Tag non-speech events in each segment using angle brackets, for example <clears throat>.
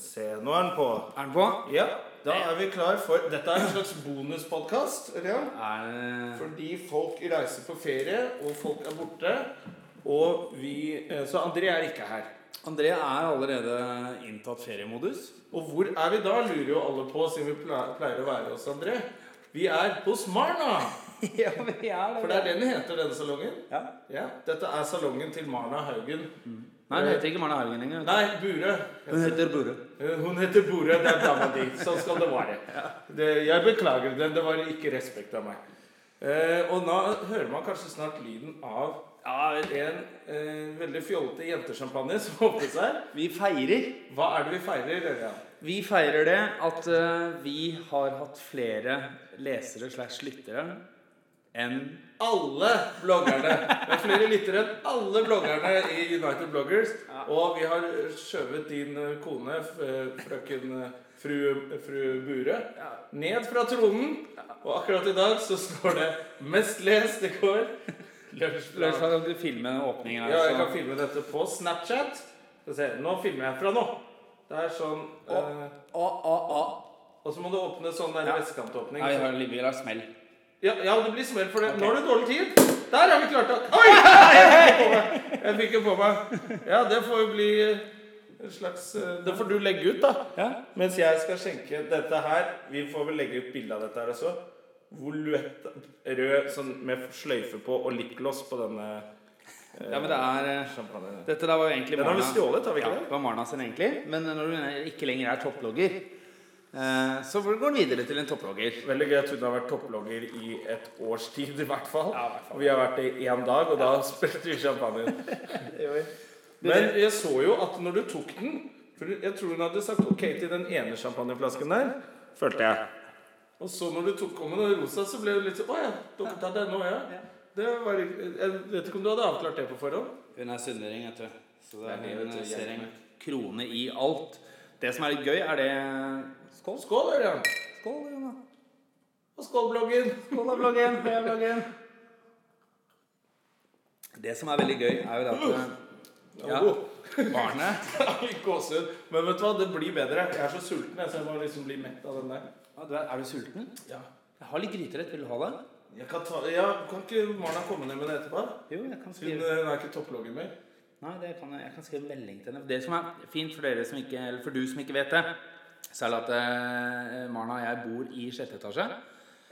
Se, nå er den på. Er den på? Ja, da er vi klar for Dette er en slags bonuspodkast, Ørjan. Er det Fordi folk reiser på ferie, og folk er borte. Og vi eh, Så André er ikke her. André er allerede inntatt feriemodus. Og hvor er vi da, lurer jo alle på, siden vi ple- pleier å være hos André. Vi er hos Marna! <laughs> ja, vi er For det er den heter, denne salongen. Ja. Ja, Dette er salongen til Marna Haugen. Nei, den heter ikke Marna Haugen lenger. Nei, Burøe. Hun heter Bure. Eh, Hun heter Borø, det er dama di. Sånn skal det være. Det, jeg beklager den. Det var ikke respekt av meg. Eh, og nå hører man kanskje snart lyden av Ja, en eh, veldig fjollete jentesjampanje som åpner seg. vi feirer. Hva er det vi feirer, Ørjan? Vi feirer det at eh, vi har hatt flere lesere slash lyttere enn Alle bloggerne. Det er flere lyttere enn alle bloggerne i United Bloggers. Og vi har skjøvet din eh, kone, f- eh, frøken eh, fru, fru Bure, ned fra tronen. Og akkurat i dag så står det 'Mest lest i går'. Lars, kan du filme åpningen her? Ja, jeg så- kan filme dette på Snapchat. Skal vi se, Nå filmer jeg fra nå. Det er sånn eh, Å, å, å. Og så må du åpne sånn der Ja. vestkantåpning. Nei, vi har en lille lille smell. Ja, ja, det blir smell for det. Ok. Nå har du dårlig tid. Der har vi klart det. <laughs> Oi! Jeg fikk det på meg. Jeg fikk det på meg. Ja, det får jo bli en slags eh, Det får du legge ut, da. Ja. Mens jeg skal skjenke dette her Vi får vel legge ut bilde av dette her også. Voluett rød sånn med sløyfe på og lipgloss på denne eh, ja, men det er eh, champagnen. Dette der var jo egentlig Den har vi Marna- stjålet, har vi ja, ikke det var Marna sin egentlig. Men når hun ikke lenger er topplogger, eh, så går hun videre til en topplogger. det? Veldig gøy at hun har vært topplogger i et års tid, i hvert fall. Ja, i hvert fall. Og vi har vært det i én dag, og da <laughs> spilte vi champagne. Men Men jeg så jo at når du tok den For jeg tror hun hadde sagt ok til den ene champagneflasken der. Følte jeg. Og så når du tok om den rosa, så ble det litt sånn Å ja, dere tar den nå, ja. Det var, jeg vet ikke om du hadde avklart det på forhånd. hun er sunnmøring, vet du. Så det Det er er det, hun vet du, ser en hjelper. krone i alt. Det som er litt gøy, er det Skål. Skål, Ørjan. Skål, Jonna. Og skål, bloggen. Skål da, bloggen. Heia, bloggen. Det som er veldig gøy, er jo det at eh, Ja. Oh, <laughs> barnet Gåsehud. Men vet du hva, det blir bedre. Jeg er så sulten, jeg, så jeg må liksom bli mett av den der. Ja, du er, er du sulten? Ja. Jeg har litt gryterett. Vil du ha det? Jeg kan, ta, ja, kan ikke Marna komme ned med det etterpå? Jo, jeg kan Hun, eh, hun er ikke topploggen mer. Nei, det kan jeg, jeg kan skrive melding til henne. Det som er fint for dere som ikke, eller for du som ikke vet det, så er det at eh, Marna og jeg bor i sjette etasje.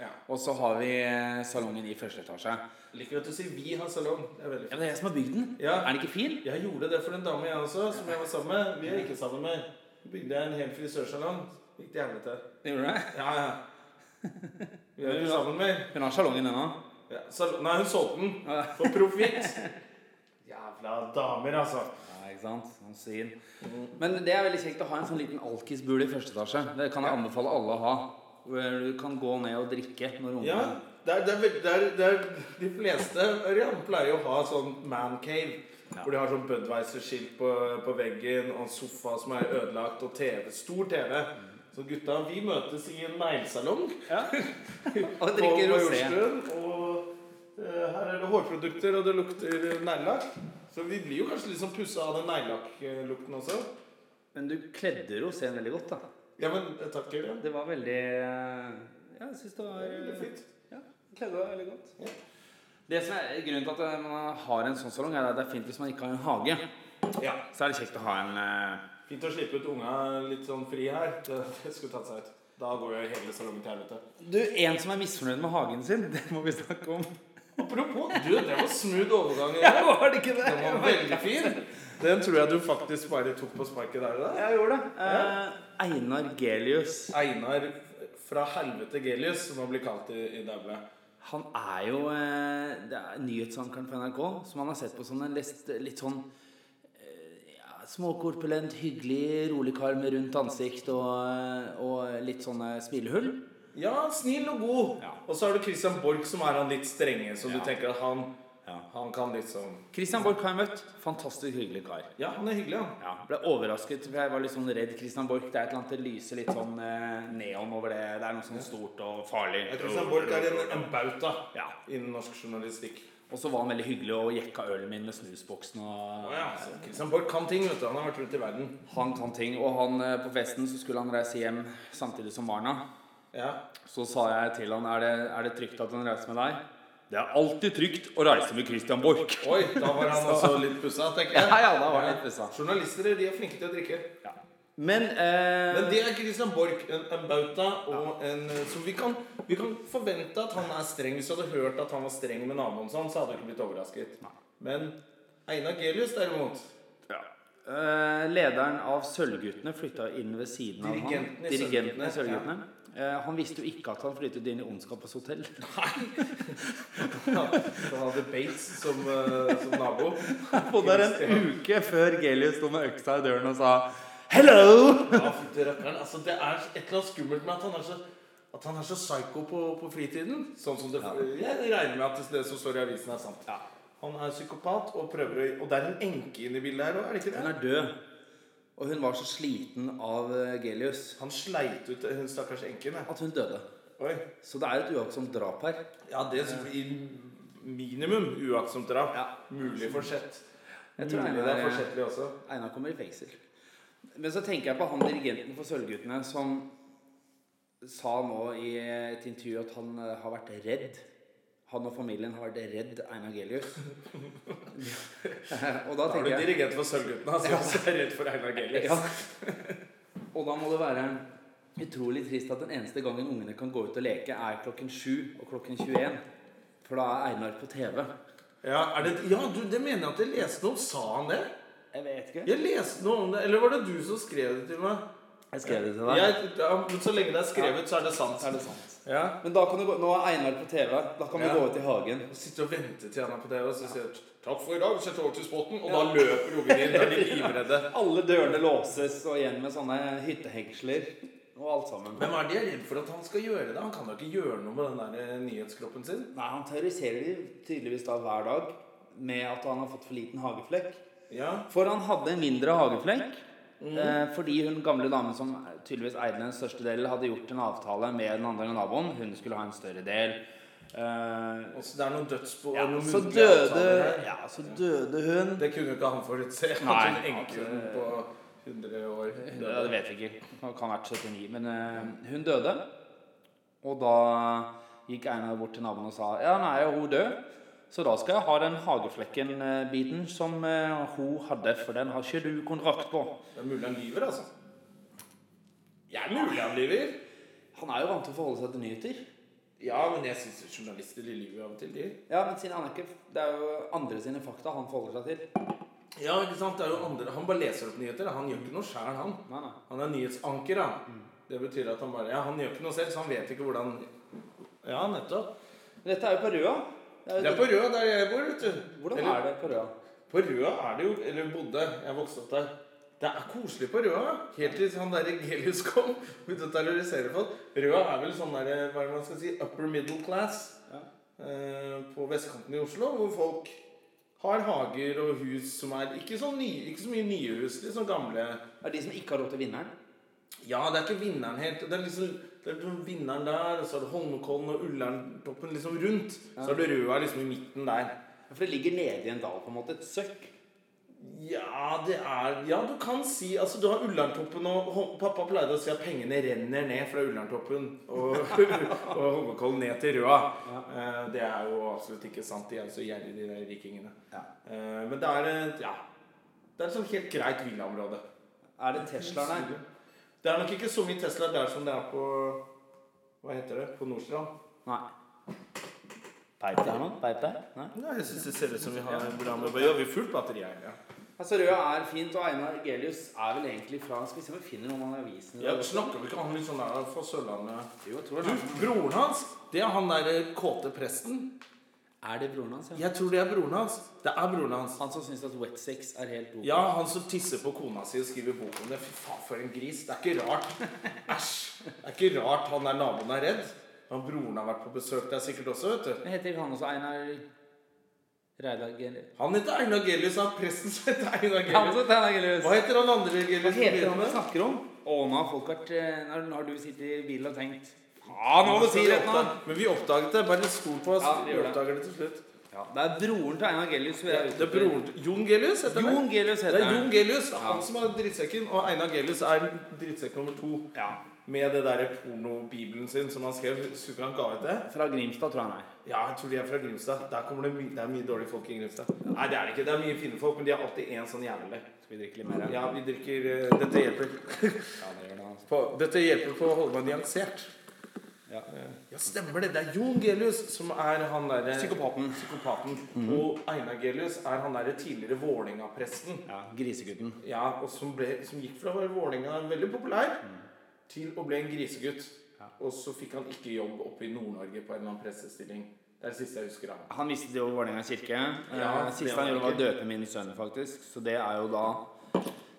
Ja. Og så har vi eh, salongen i første etasje. Liker at du sier 'vi har salong'. Det er veldig Ja, det er jeg som har bygd den. Ja. Er den ikke fin? Jeg gjorde det for en dame jeg også, som jeg var sammen med. Vi er ikke sammen mer. Så bygde jeg en hel frisørsalong. Gikk til helvete. Det gjorde du det? Ja, ja. Vi er ikke sammen mer. Hun har salongen ennå. Ja, sal- Nei, hun solgte den. For profitt. Jævla damer, altså. Ja, ikke sant? Sånn syn. Men det er veldig kjekt å ha en sånn liten alkisbule i første etasje. Det kan jeg anbefale alle å ha. Hvor du kan gå ned og drikke når ungene Ja, det er, det er, veld- det er, det er De fleste Ørjan, pleier å ha sånn man cave. Ja. Hvor de har sånn Budwiser-skilt på, på veggen, og en sofa som er ødelagt, og TV. Stor TV. Så gutta, vi møtes i en neglesalong. Og på drikke rosé. Majorstuen. Og eh, her er det hårprodukter, og det lukter neglelakk. Så vi blir jo kanskje litt sånn pussa av den neglelakklukten også. Men du kledde roséen veldig godt, da. Ja, men eh, takk, Ørjan. Det var veldig eh, Ja, jeg syns det var Det er veldig fint. Ja, kledde deg veldig godt. Det som er Grunnen til at man har en sånn salong, er at det er fint hvis man ikke har en hage. Ja. Så er det kjekt å ha en eh, Fint å slippe ut unga litt sånn fri her. Det, det skulle tatt seg ut. Da går jo hele salongen til helvete. Du, en som er misfornøyd med hagen sin, <laughs> det må vi snakke om. Apropos, du, det var smooth overgang. Ja, Ørjan. var det ikke det? Den var veldig fin. Den tror jeg du faktisk bare tok på sparket der. da. Jeg gjorde det. Eh, Einar Gelius. Einar fra helvete Gelius, som han blir kalt i, i Dagbladet. Han er jo eh, det er nyhetsankeren på NRK, som han har sett på som en litt, litt sånn eh, ja, småkorpulent, hyggelig, rolig kar med rundt ansikt og, eh, og litt sånne smilehull. Ja, snill og god. Ja. Og så har du Christian Borch, som er han litt strenge. Så Ja. du tenker at han, Ja. han kan liksom Christian Borch har jeg møtt. Fantastisk hyggelig kar. Ja, han er hyggelig, han. Ja, ble overrasket, for jeg var litt sånn redd Christian Borch. Det er et eller annet det lyser litt sånn eh, neon over det. Det er noe sånn stort og farlig. Christian Borch er en, en bauta Ja. innen norsk journalistikk. Og så var han veldig hyggelig og jekka ølen min med snusboksen. Og, Å ja, så Christian Borch kan ting, vet du. Han har vært rundt i verden. Han kan ting. Og han, eh, på festen så skulle han reise hjem samtidig som barna. Ja. Så sa jeg til han er det, er det trygt at han reiser med deg? Det er alltid trygt å reise med Christian Borch. Oi, da var <laughs> han også litt pussa, tenker jeg. Ja, ja, da var han litt pussa. Journalister de er flinke til å drikke. Ja. Men, eh, Men det er Christian Borch, en, en bauta og en Så vi kan, vi kan forvente at han er streng. Hvis du hadde hørt at han var streng med naboen sin, så hadde du ikke blitt overrasket. Men Einar Gelius, derimot ja. eh, Lederen av Sølvguttene flytta inn ved siden av Dirigenten i han. Dirigenten i Sølvguttene, Sølvguttene. Eh, han visste jo ikke at han flyttet inn i Ondskapens <laughs> hotell. Han hadde Bates som, eh, som nabo. Han bodde der en uke før Gelius sto med øksa i døren og sa Hello! Ja, fytti rakkeren. Altså, det er et eller annet skummelt med at han er så at han er så psycho på, på fritiden. Sånn som det, Jeg regner med at det som står i avisen, er sant. Ja. Han er psykopat og prøver å Og det er en enke inne i bildet her òg, er det ikke det? Hun er død. Og hun var så sliten av eh, Gelius Han sleit ut hun stakkars enken. jeg. at hun døde. Oi. Så det er et uaktsomt drap her. Ja, det er i minimum uaktsomt drap. Ja. Mulig forsett. Jeg tror Mulig Einar- det er forsettlig også. Einar kommer i fengsel. Men så tenker jeg på han dirigenten for Sølvguttene som sa nå i et intervju at han eh, har vært redd. Han og familien har vært redd Einar Gelius. <laughs> og Da er da du tenker jeg dirigent for Sølvguttene, altså. Så jeg er redd for Einar Gelius. ja. <laughs> Og da må det være utrolig trist at den eneste gangen ungene kan gå ut og leke, er klokken 7 og klokken 21. For da er Einar på TV. Ja, er det, ja du, det mener jeg at jeg leste noe om. Sa han det? Jeg vet ikke. Jeg leste noe om det. Eller var det du som skrev det til meg? Jeg skrev det til deg. Jeg, ja, men så lenge det er skrevet, så er det sant. Så er det sant. Ja. Men da kan du gå, nå er Einar på TV. Da kan vi Ja. gå ut i hagen. Og sitter og venter til han er på TV og så sier han, 'Takk for i dag', sett over til spotten, og da løper ungene inn. Da <laughs> er de livredde. Alle dørene låses, og igjen med sånne hyttehengsler og alt sammen. Hvem er de er redd for at han skal gjøre det? Han kan da ikke gjøre noe med den der eh, nyhetskroppen sin? Nei, Han terroriserer de tydeligvis da hver dag med at han har fått for liten hageflekk. Ja. Mm. For han hadde en mindre hageflekk Mhm. eh, fordi hun gamle damen som tydeligvis eide den største delen, hadde gjort en avtale med den andre naboen. Hun skulle ha en større del. Eh, Og så det er noen dødsbo ja, og noen så muntlige døde, avtaler her. ja, så døde hun Det kunne jo ikke han forutse. at Nei, en enkehund at, eh, på 100 år Ja, det døde. vet vi ikke. Det kan ha vært 79. Men eh, hun døde. Og da gikk Einar bort til naboen og sa Ja, nå er jo hun død, så da skal jeg ha den hageflekken-biten som eh, hun hadde, for den har ikke du kontrakt på. Det er mulig han lyver, altså. Ja, mulig han lyver. Han er jo vant til å forholde seg til nyheter. Ja, men jeg syns journalister de lyver av og til, de. Ja, men siden han er ikke Det er jo andre sine fakta han forholder seg til. Ja, ikke sant? Det er jo andre. Han bare leser opp nyheter. Han gjør ikke noe sjæl, han. Nei, nei. Han er nyhetsanker, han. Det betyr at han bare Ja, han gjør ikke noe selv, så han vet ikke hvordan Ja, nettopp. Men dette er jo på Røa. Det er Det jo er på Røa der jeg bor, vet du. Hvordan Eller- er det på Røa? På Røa er det jo Eller bodde. Jeg vokste opp der. Det er koselig på Røa. Helt til han der Gelius kom. <laughs> Begynte å terrorisere folk. Røa er vel sånn der Hva er det man skal si? Upper middle class. Ja. Eh, på vestkanten i Oslo, hvor folk har hager og hus som er Ikke, sånn ny, ikke så mye nye hus, litt sånn gamle Er det de som ikke har råd til vinneren? Ja, det er ikke vinneren helt. Det er liksom det er liksom vinneren der, og så er det Holmenkollen og Ullerntoppen liksom rundt. Så er det Røa liksom i midten der. For det ligger nede i en dal, på en måte. Et søkk. Ja, det er Ja, du kan si Altså, du har Ullerntoppen og Ho- Pappa pleide å si at pengene renner ned fra Ullerntoppen og, <laughs> og Holmenkollen ned til Røa. Eh, Det er jo absolutt ikke sant. De er jo så gjerrige, de der rikingene. Ja. Eh, Men det er et Ja. Det er et sånn helt greit villaområde. Er det Tesla der? Det er nok ikke så mye Tesla der som det er på Hva heter det? På Nordstrand. Nei. Peip der nå? Peip der? Nei. Nei, jeg syns det ser ut som vi har bra med Ja, vi har fullt batteri her. Ja. Altså, Røa er fint, og Einar Gelius er vel egentlig fra Skal vi se om vi finner noen av avisene Ja, snakker vi ikke om han litt sånn der fra Sørlandet? Jo, jeg tror Du, det. broren hans, det er han der eh, kåte presten. Er det broren hans? Ja? Jeg tror det er broren hans. Det er broren hans. Han som syns at wet sex er helt ok? Ja, han som tisser på kona si og skriver bok om det. Fy faen, for en gris. Det er ikke rart. Æsj. Det er ikke rart han der naboen er redd. Han broren har vært på besøk der sikkert også, vet du. Men Heter ikke han også Einar Reidar Gelius? Han heter Einar Gelius. Han er presten som heter Einar Han Gelius. som heter Einar Gelius. Hva heter han andre Gelius? Hva heter han på vi bildet? snakker om? Å, nå har folk vært eh, Nå har du sittet i bilen og tenkt Faen, hva må du si rett nå? Men vi oppdaget det. Bare skol på oss. Ja, vi vi gjør det. oppdager det til slutt. Ja, det er broren til Einar Gellius. vi Det er ute er etter. broren til Jon Gelius heter han. Jon Gellius Det heter er Jon Gelius, det er Ja. han som er drittsekken, og Einar Gelius er drittsekk nummer to. Ja. Med det derre pornobibelen sin som han skrev. Husker du han ga ut det? Fra Grimstad, tror jeg han er. Ja, jeg tror de er fra Grimstad. Der kommer det, my det er mye dårlige folk i Grimstad. Nei, det er det ikke. Det er mye fine folk, men de har alltid én sånn jævlig. Skal vi drikke litt mer? Ja, vi drikker eh, Dette hjelper Ja, det gjør det, altså. på, dette hjelper på å holde meg nyansert. Ja. Ja, stemmer det. Det er Jon Gelius som er han derre Mhm. Psykopaten. psykopaten. Og Einar Gelius er han derre tidligere Vålinga-presten. Ja, Grisegutten. Ja, og som, ble, som gikk fra å være Vålinga veldig populær til å bli en grisegutt. Ja. Og så fikk han ikke jobb oppe i Nord-Norge på en eller annen pressestilling. Det er det siste jeg husker av ham. Han mistet jo Vålerenga kirke. Ja, Eh, Siste det han var gjorde, var å ikke- døpe min sønn, faktisk. Så det er jo da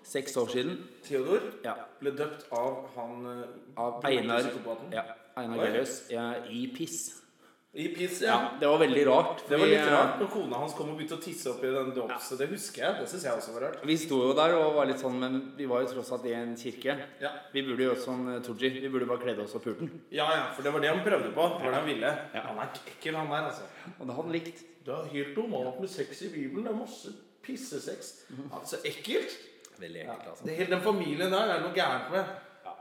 seks år siden. Theodor Ja. ble døpt av han eh, Av broren til Einar, psykopaten. ja, Einar Oi. Gellius ja, i piss. I piss, ja. Ja, det var veldig rart. Det var litt fordi, eh, rart når kona hans kom og begynte å tisse oppi den dåpsen. Det husker jeg. Det synes jeg også var rart. Vi sto jo der og var litt sånn, men vi var jo tross alt i en kirke. Ja, Vi burde jo sånn eh, Tooji. Vi burde bare kledd oss av pulten. ja, ja for det var det han prøvde på. Det var det han ville. Han er ekkel, han der, altså. Og det hadde han likt. Det er helt normalt med sex i Bibelen. Det er masse pissesex. Mhm. Altså, ekkelt. Veldig Ja. altså. Det er helt den familien der er det noe gærent med.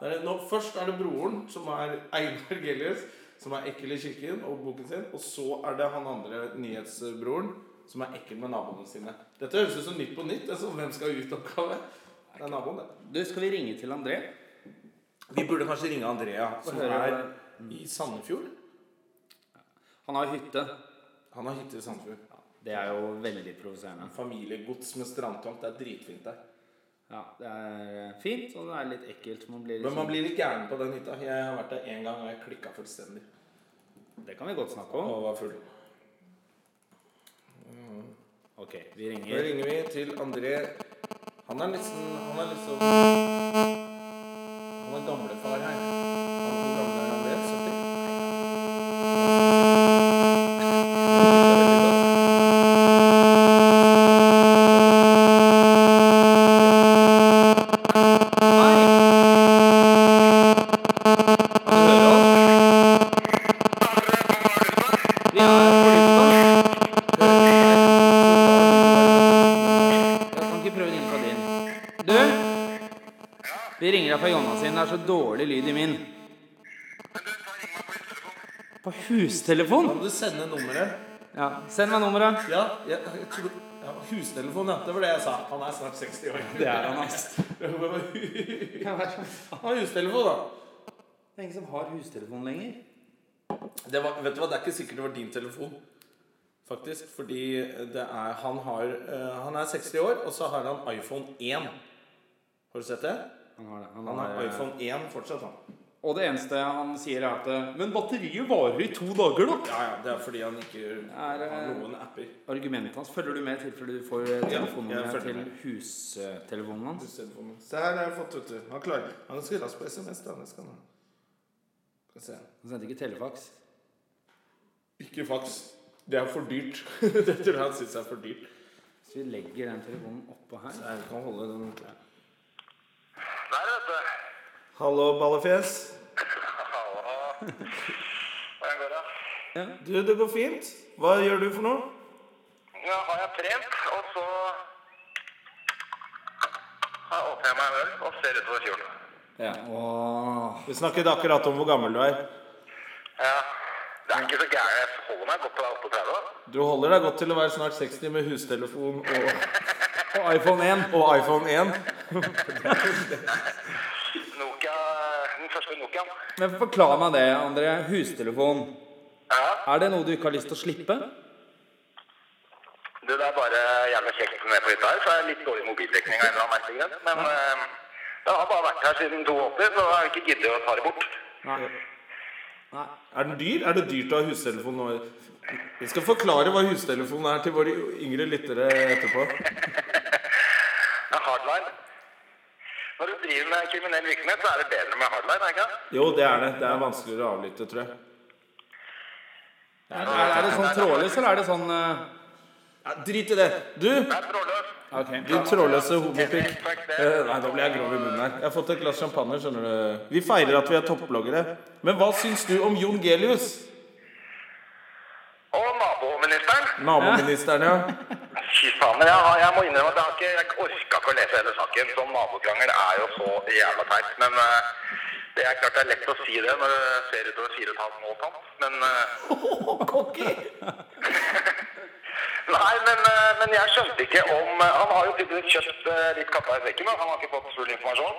Det er det, nå, først er det broren, som er Einar Gellius, som er ekkel i kirken og boken sin. Og så er det han andre nyhetsbroren, som er ekkel med naboene sine. Dette høres ut som Nytt på nytt. Altså, hvem skal ut-oppgave? Det er naboen, det. Du, skal vi ringe til André? Vi burde kanskje ringe Andrea, som høre er hva- i Sandefjord. Han har hytte. Han har hytte i Sandefjord. Det er jo veldig provoserende. Familiegods med strandtomt. Det er dritfint der. Ja, det er eh, fint, og det er litt ekkelt. Man blir Men man liksom- blir litt gæren på den hytta. Jeg har vært der én gang, og jeg klikka fullstendig. Det kan vi godt snakke om. Og var full. Ok, vi Nå ringer. ringer vi til André. Han er liksom Han er liksom Han er gamlefar her. Han er gamle André, 70. Hei! Kan du høre oss? Vi er på lufta. Jeg kan ikke prøve å ringe fra din. Du? Vi ringer deg fra Jonna sin. Det er så dårlig lyd i min. På hustelefon? Kan du sende nummeret? Ja. Send meg nummeret. Ja, jeg, jeg tror ja, Hustelefon, ja. Det var det jeg sa. Han er snart 60 år. Det er han, ass. <laughs> Han Det er har hustelefon, da. ingen som har hustelefon lenger. Det var, vet du hva, det er ikke sikkert det var din telefon. Faktisk, fordi det er, han, har, eh, han er 60 år, og så har han iPhone 1. Har du sett det? Han har eh, det. Han har iPhone 1 fortsatt, han. Og det eneste han sier, er at Men batteriet varer i to dager, da. Ja, ja, det er fordi han ikke Er, eh, har noen apper. Argumentet hans følger du med til fordi du får eh, Ja, jeg telefonnummeret følger til med. hustelefonen hans? Hustelefonen. Se her, det har jeg fått, vet du. Han klarer Han er ganske rask på SMS, da. Det skal han ha. Skal vi se. Han sendte ikke telefaks. Ikke faks. Det er for dyrt. <laughs> det tror jeg han syns er for dyrt. Så vi legger den telefonen oppå her. Nei, vi kan holde den. Der, vet du. Hallo, ballefjes. Halla. Hvordan går det? Du, det går fint. Hva gjør du for noe? Nå har jeg trent, og så har jeg åpner jeg meg en øl og ser utover fjorden. Ja. Åh. Vi snakket akkurat om hvor gammel du er. Ja, det er ikke så gærent. Jeg holder meg godt til 38. Du holder deg godt til å være snart 60 med hustelefon og, Og iPhone 1. og iPhone 1. Nokia, den første Nokiaen. Men forklar meg det, André. Hustelefon. Ja, Er det noe du ikke har lyst til å slippe? du, det er bare jævlig kjekt med på hytta her, så er det litt dårlig mobildekning av en eller annen merkelig grunn. Men eh, den har bare vært her siden 82, så jeg har ikke giddet å ta det bort. Nei. Nei. Er den dyr? Er det dyrt å ha hustelefon nå? Vi skal forklare hva hustelefon er til våre yngre lyttere etterpå. Det er hardline. Når du driver med kriminell virksomhet, så er det bedre med hardline, er det ikke det? Jo, det er det. Det er vanskeligere å avlytte, tror jeg. Er, er det sånn trådløs, eller er det sånn eh, Ja, drit i det. Du, Det er trådløs. Ok. din trådløse homopikk. Fuck det. Eh, Nei, da ble jeg grov i munnen her. Jeg har fått et glass champagne, skjønner du. Vi feirer at vi er toppbloggere. Men hva syns du om Jon Gelius? Og naboen naboministeren. Naboministeren, ja. Fy faen, men jeg, har- jeg må innrømme at jeg, har ikke, jeg orka ikke å lese hele saken. Sånn nabokrangel er jo så jævla teit. Men eh, det er klart det er lett å si det når det ser utover 4,5 nå, sant? Men eh, Cocky! Nei, men, eh, men jeg skjønte ikke om eh, Han har jo tydeligvis kjøpt eh, litt katta i sekken, men han har ikke fått full informasjon.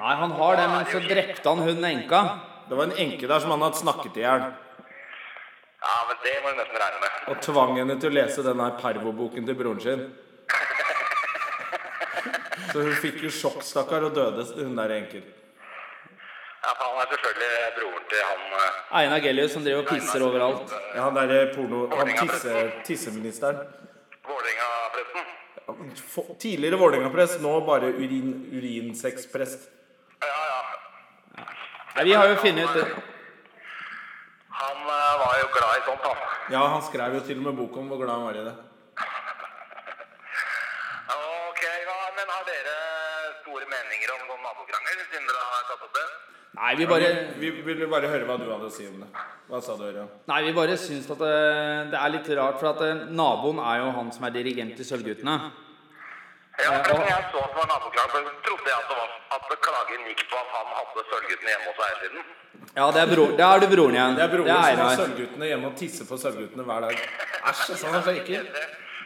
Nei, han har det, men så drepte han hun enka. Det var en enke der som han hadde snakket i hjel. Ja, men det må du nesten regne med. Og tvang henne til å lese den her pervoboken til broren sin. Så hun fikk jo sjokk, stakkar, og døde, hun der enken. Ja, for han er selvfølgelig broren til han eh, Einar Gellius som driver og pisser overalt. Ja, han derre porno... Han tisse, tisseministeren. Vålerenga-presten. F- Tidligere Vålerenga-prest, nå bare urin, urinseksprest. Ja, ja. Nei, vi har jo funnet ut det. Han eh, var jo glad i sånt, han. Ja, han skrev jo til og med bok om hvor glad han var i det. Ok, ja, men har dere store meninger om sånn nabokrangel, siden dere har tatt opp det? Nei, vi bare, Vi ville bare høre hva du hadde å si om det. Hva sa du, Ørjan? nei, vi bare syns at det, det er litt rart, for at eh, naboen er jo han som er dirigent i Sølvguttene. Ja, Ja, forresten, og- jeg så at det var nabokrangel, men trodde jeg at, det var, at klagen gikk på at han hadde sølvguttene hjemme hos eier siden. Ja, det er, bro, det er du broren igjen. Det er broren som har Einar. Sølvguttene hjemme og tisser på Sølvguttene hver dag. Æsj, altså, han er så ekkel.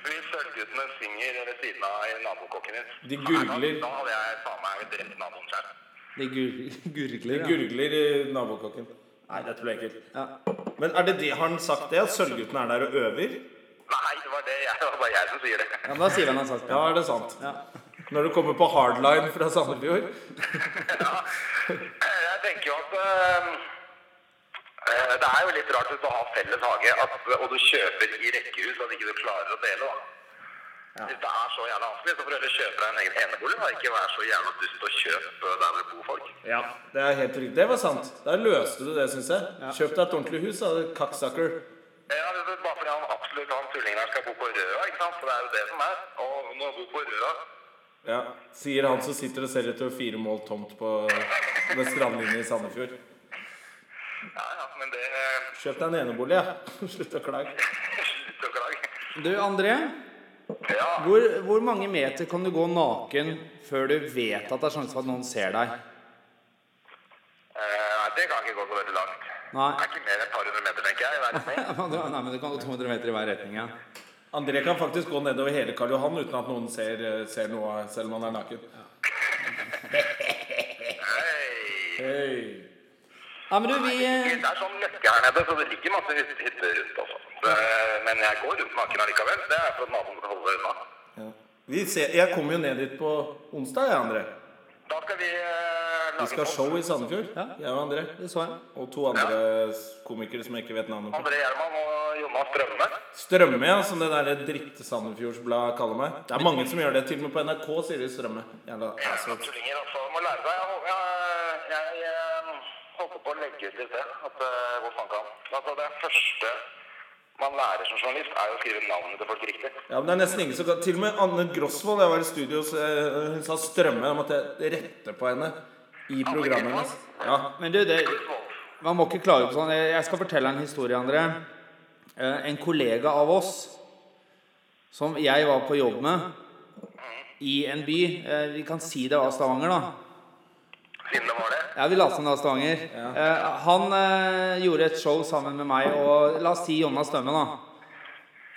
Hvis sølvguttene synger ved siden av i nabokokken din De gurgler. Da, da hadde jeg faen meg drept naboen sjøl. De gur- <laughs> De gurgler. Ja. gurgler i nabokokken. Nei, dette ble ekkelt. Ja. Men er det det har han sagt det? At Sølvguttene er der og øver? Nei, det var det jeg, det var bare jeg som sier det. ja, men da sier vi han har sagt det. Ja, er det sant? Ja. Når du kommer på hardline fra Sandefjord? Eh, Jeg tenker jo at eh, eh, det er jo litt rart hvis du har felles hage at, og du kjøper i rekkehus at ikke du klarer å dele. da. Hvis det er så jævla vanskelig, så får du heller kjøpe deg en egen enebolig. da. Ikke være så jævla dust og kjøpe der det bor folk. Ja. Det er helt riktig. Det var sant. Da løste du det, syns jeg. Kjøp deg et ordentlig hus, da, cocksucker. Eh, Ja, det er bare fordi han absolutt han tullingen her skal bo på Røa, ikke sant? For det er jo det som er. Og når han bor på Røa <laughs> Ja, Sier han som sitter og ser etter fire mål tomt på ved strandlinja i Sandefjord. Ja, ja, men det <laughs> eh, Kjøp deg en enebolig, ja. <laughs> Slutt å klage. Slutt å klage. Du, André. Ja, Hvor, hvor mange meter kan du gå naken før du vet at det er sjanse for at noen ser deg? eh, nei, det kan ikke gå så veldig langt. Nei. <laughs> Det er ikke mer enn et par hundre meter, tenker jeg. i verden, ikke? Ja, men du- Nei, men du kan gå 200 meter i hver retning, ja. André kan faktisk gå nedover hele Karl Johan uten at noen ser, ser noe, selv om han er naken. Hei. Hei. Nei, men du, vi eh, Det er sånn løkke her nede, så det ligger masse hytter- hytter rundt også. Så, eh, Men jeg går rundt naken allikevel. Det er for at naboen skal holde seg unna. Ja. Vi ser, jeg kommer jo ned dit på onsdag, jeg, André. Da skal vi eh, Vi lage skal ha en podd. show i Sandefjord. Ja. Jeg og André. Det så jeg. Og to andre s- komikere som jeg ikke vet navnet på. André Gjerman og Jonas Strømme. Strømme, ja, som det der dritt-Sandefjordsbladet kaller meg. Det er mange som gjør det. Til og med på NRK sier de Strømme. Jævla assholes. Tullinger også altså. må lære seg. Jeg, håper- jeg, jeg, eh, holdt på å legge ut i sted at eh, hvor faen kan. Altså, det første man lærer som journalist, er jo å skrive navnet til folk riktig. Ja, men det er nesten ingen som kan Til og med Anne Grosvold, jeg var i studio, så eh, hun sa Strømme. Da måtte jeg rette på henne i programmet hennes. Ja. Men du, det, man må ikke klage på sånn. Jeg jeg skal fortelle en historie, André. Eh, En kollega av oss som jeg var på jobb med i en by eh, Vi kan si det var Stavanger, da. Siden det var det. Ja, vi la oss ned av Stavanger. Eh, Han eh, gjorde et show sammen med meg og la oss si Jonas Stømme, da.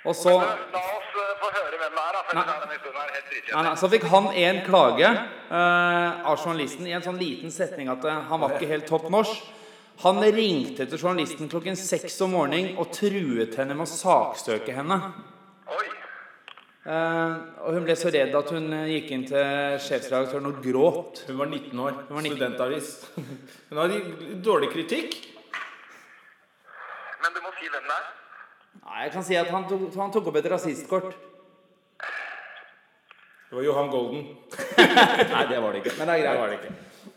Og så La oss eh, få høre hvem det er, da. For ellers er denne historien her helt Nei, dritkjedelig. nei, så fikk han en klage eh, av journalisten i en sånn liten setning at eh, han var ikke helt topp norsk. Han ringte til journalisten klokken seks om morgenen og truet henne med å saksøke henne. Oi. Eh, og hun ble så redd at hun eh, gikk inn til sjefsredaktøren og gråt. Hun var 19 år. var 19. Studentavis. Hun har dårlig kritikk. Men du må si hvem det er. Nei, jeg kan si at han tok, han tok opp et rasistkort. Det var Johan Golden. <laughs> Nei, det var det ikke. Men det er greit. Det var det ikke.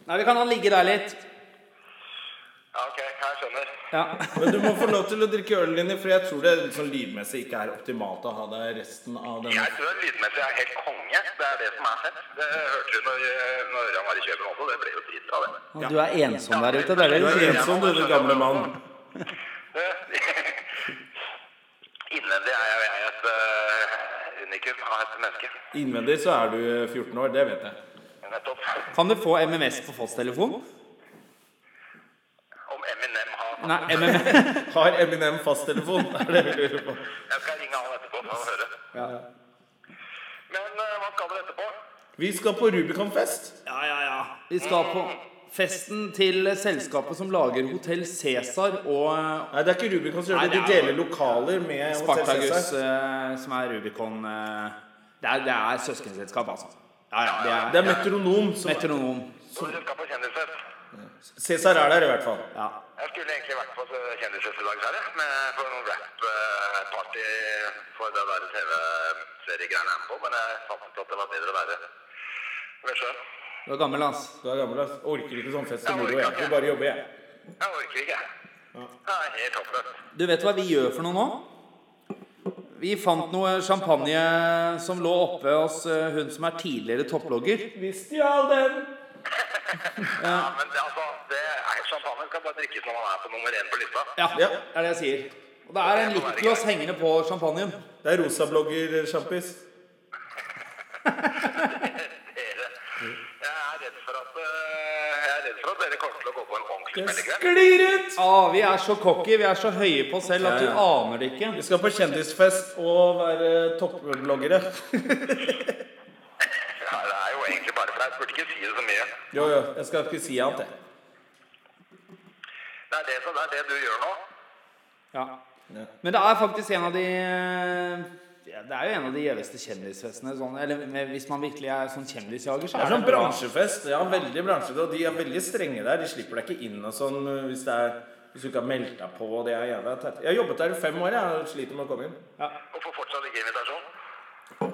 Nei, vi kan la han ligge der litt. Ja, ok, jeg skjønner. Ja. Men du må få lov til å drikke ølen din, for jeg tror det sånn lydmessig ikke er optimalt å ha deg resten av denne Jeg tror at lydmessig er helt konge. Det er det som er fett. Det hørte du når, eh, når Ørjan var i København også. Det ble jo dritbra, det. Og Du er ensom der ute. Det er Du vel er ensom, du, du gamle mann. Du, <laughs> Innvendig er jeg, jeg et eh, unikum av et menneske. Innvendig så er du 14 år, det vet jeg. Nettopp. Kan du få MMS på Foss-telefon? Om Eminem har Nei, MMS. Har Eminem fasttelefon? Er det vi lurer på? Jeg skal ringe han etterpå, så han hører. Men eh, hva skal dere etterpå? Vi skal på Rubicon-fest. Ja, ja, ja. Vi skal på festen til selskapet som lager Hotell Cæsar og eh, Nei, det er ikke Rubicon som Nei, gjør det. De det er- deler lokaler med Spartagus, Cæsar. eh, som er Rubicon eh, Det er, det er søskenselskap, altså. Ja, ja. Det Det er er metronom. som- metronom. Så dere skal på kjendisfest? Cæsar er der i hvert fall. Ja. Jeg skulle egentlig vært på kjendisfest i dag, dessverre. Med for noen rap-party eh, for det der TV-seriegreiene jeg er med på. Men jeg fant ut at det var bedre å være ved sjøen. Du er gammel, ass. Du er gammel, ass. Orker ikke sånn fest Jeg og moro. orker Jeg ikke. vil bare jobbe, jeg. Jeg orker ikke. Det er helt oppløst. Du vet hva vi gjør for noe nå? Vi fant noe champagne som lå oppe hos eh, hun som er tidligere topplogger. Vi stjal den! Ja, men det, altså, det er champagne skal bare drikkes når man er på nummer én på lista. Ja, det Ja. er det jeg sier. Og det er en lipgloss hengende på champagnen. Det er eh, rosablogger-sjampis. <laughs> Dere, jeg er redd for at, eh, jeg er redd for at dere kommer til å gå på en ordentlig meldekveld. Sklir ut! Ah, vi er så cocky, vi er så høye på oss selv at du Ja, aner det ikke. Vi skal på kjendisfest og være toppbloggere. Ja, det er jo egentlig bare flaut. Burde ikke si det så mye. Jo, jo. Jeg skal ikke si annet, jeg. Det er det, som- det, er det du gjør nå. Ja. Ja. Men det er faktisk en av de eh, ja, Det er jo en av de gjeveste kjendisfestene. Sånn, eller med- hvis man virkelig er sånn kjendisjager, så Det er er det sånn bra. bransjefest. Ja, veldig bransjefest. Og de er veldig strenge der. De slipper deg ikke inn og sånn øh, hvis, det er, hvis du ikke har meldt deg på. og Det er jævla teit. Jeg har jobbet der i fem år jeg, og sliter med å komme inn. Og får fortsatt ikke invitasjon.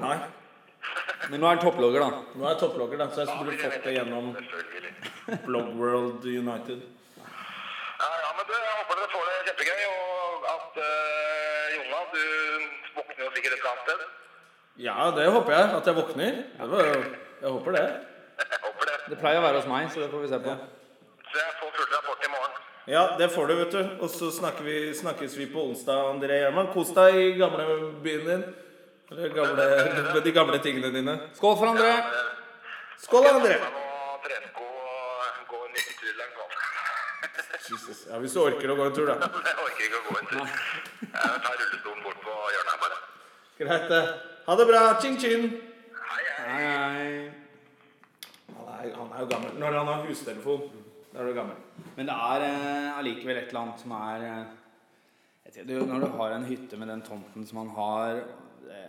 Nei. Men nå er han topplogger, da. Nå er jeg topplogger, da, så jeg skulle fått det gjennom Selvfølgelig. Blogworld United. Ja, ja, men du, jeg håper dere får det kjempegøy, og at eh, Jonna, du våkner jo sikkert et eller annet sted. <laughs> Ja, det håper jeg. At jeg våkner. Det var, jeg håper det. Jeg håper det. Det pleier å være hos meg, så det får vi se på. Så jeg får full rapport i morgen. Ja, det får du, vet du. Og så snakker vi, snakkes vi på onsdag, André Gjerman. Kos deg i gamlebyen din. Eller gamle, med de gamle tingene dine. Skål for andre! Skål, André! Jeg må tresko og gå en liten tur langs vann. Jesus. Ja, hvis du orker å gå en tur, da. <laughs> Jeg orker ikke å gå en tur. Jeg tar rullestolen bort på hjørnet her bare. Greit, det. Ha det bra. Chin-chin. Hei, hei. Nei, nei. Han, er- han er jo gammel. Når han har hustelefon, da er du gammel. Men det er eh, allikevel et eller annet som er eh, jeg vet ikke, du, Når du har en hytte med den tomten som man har Det,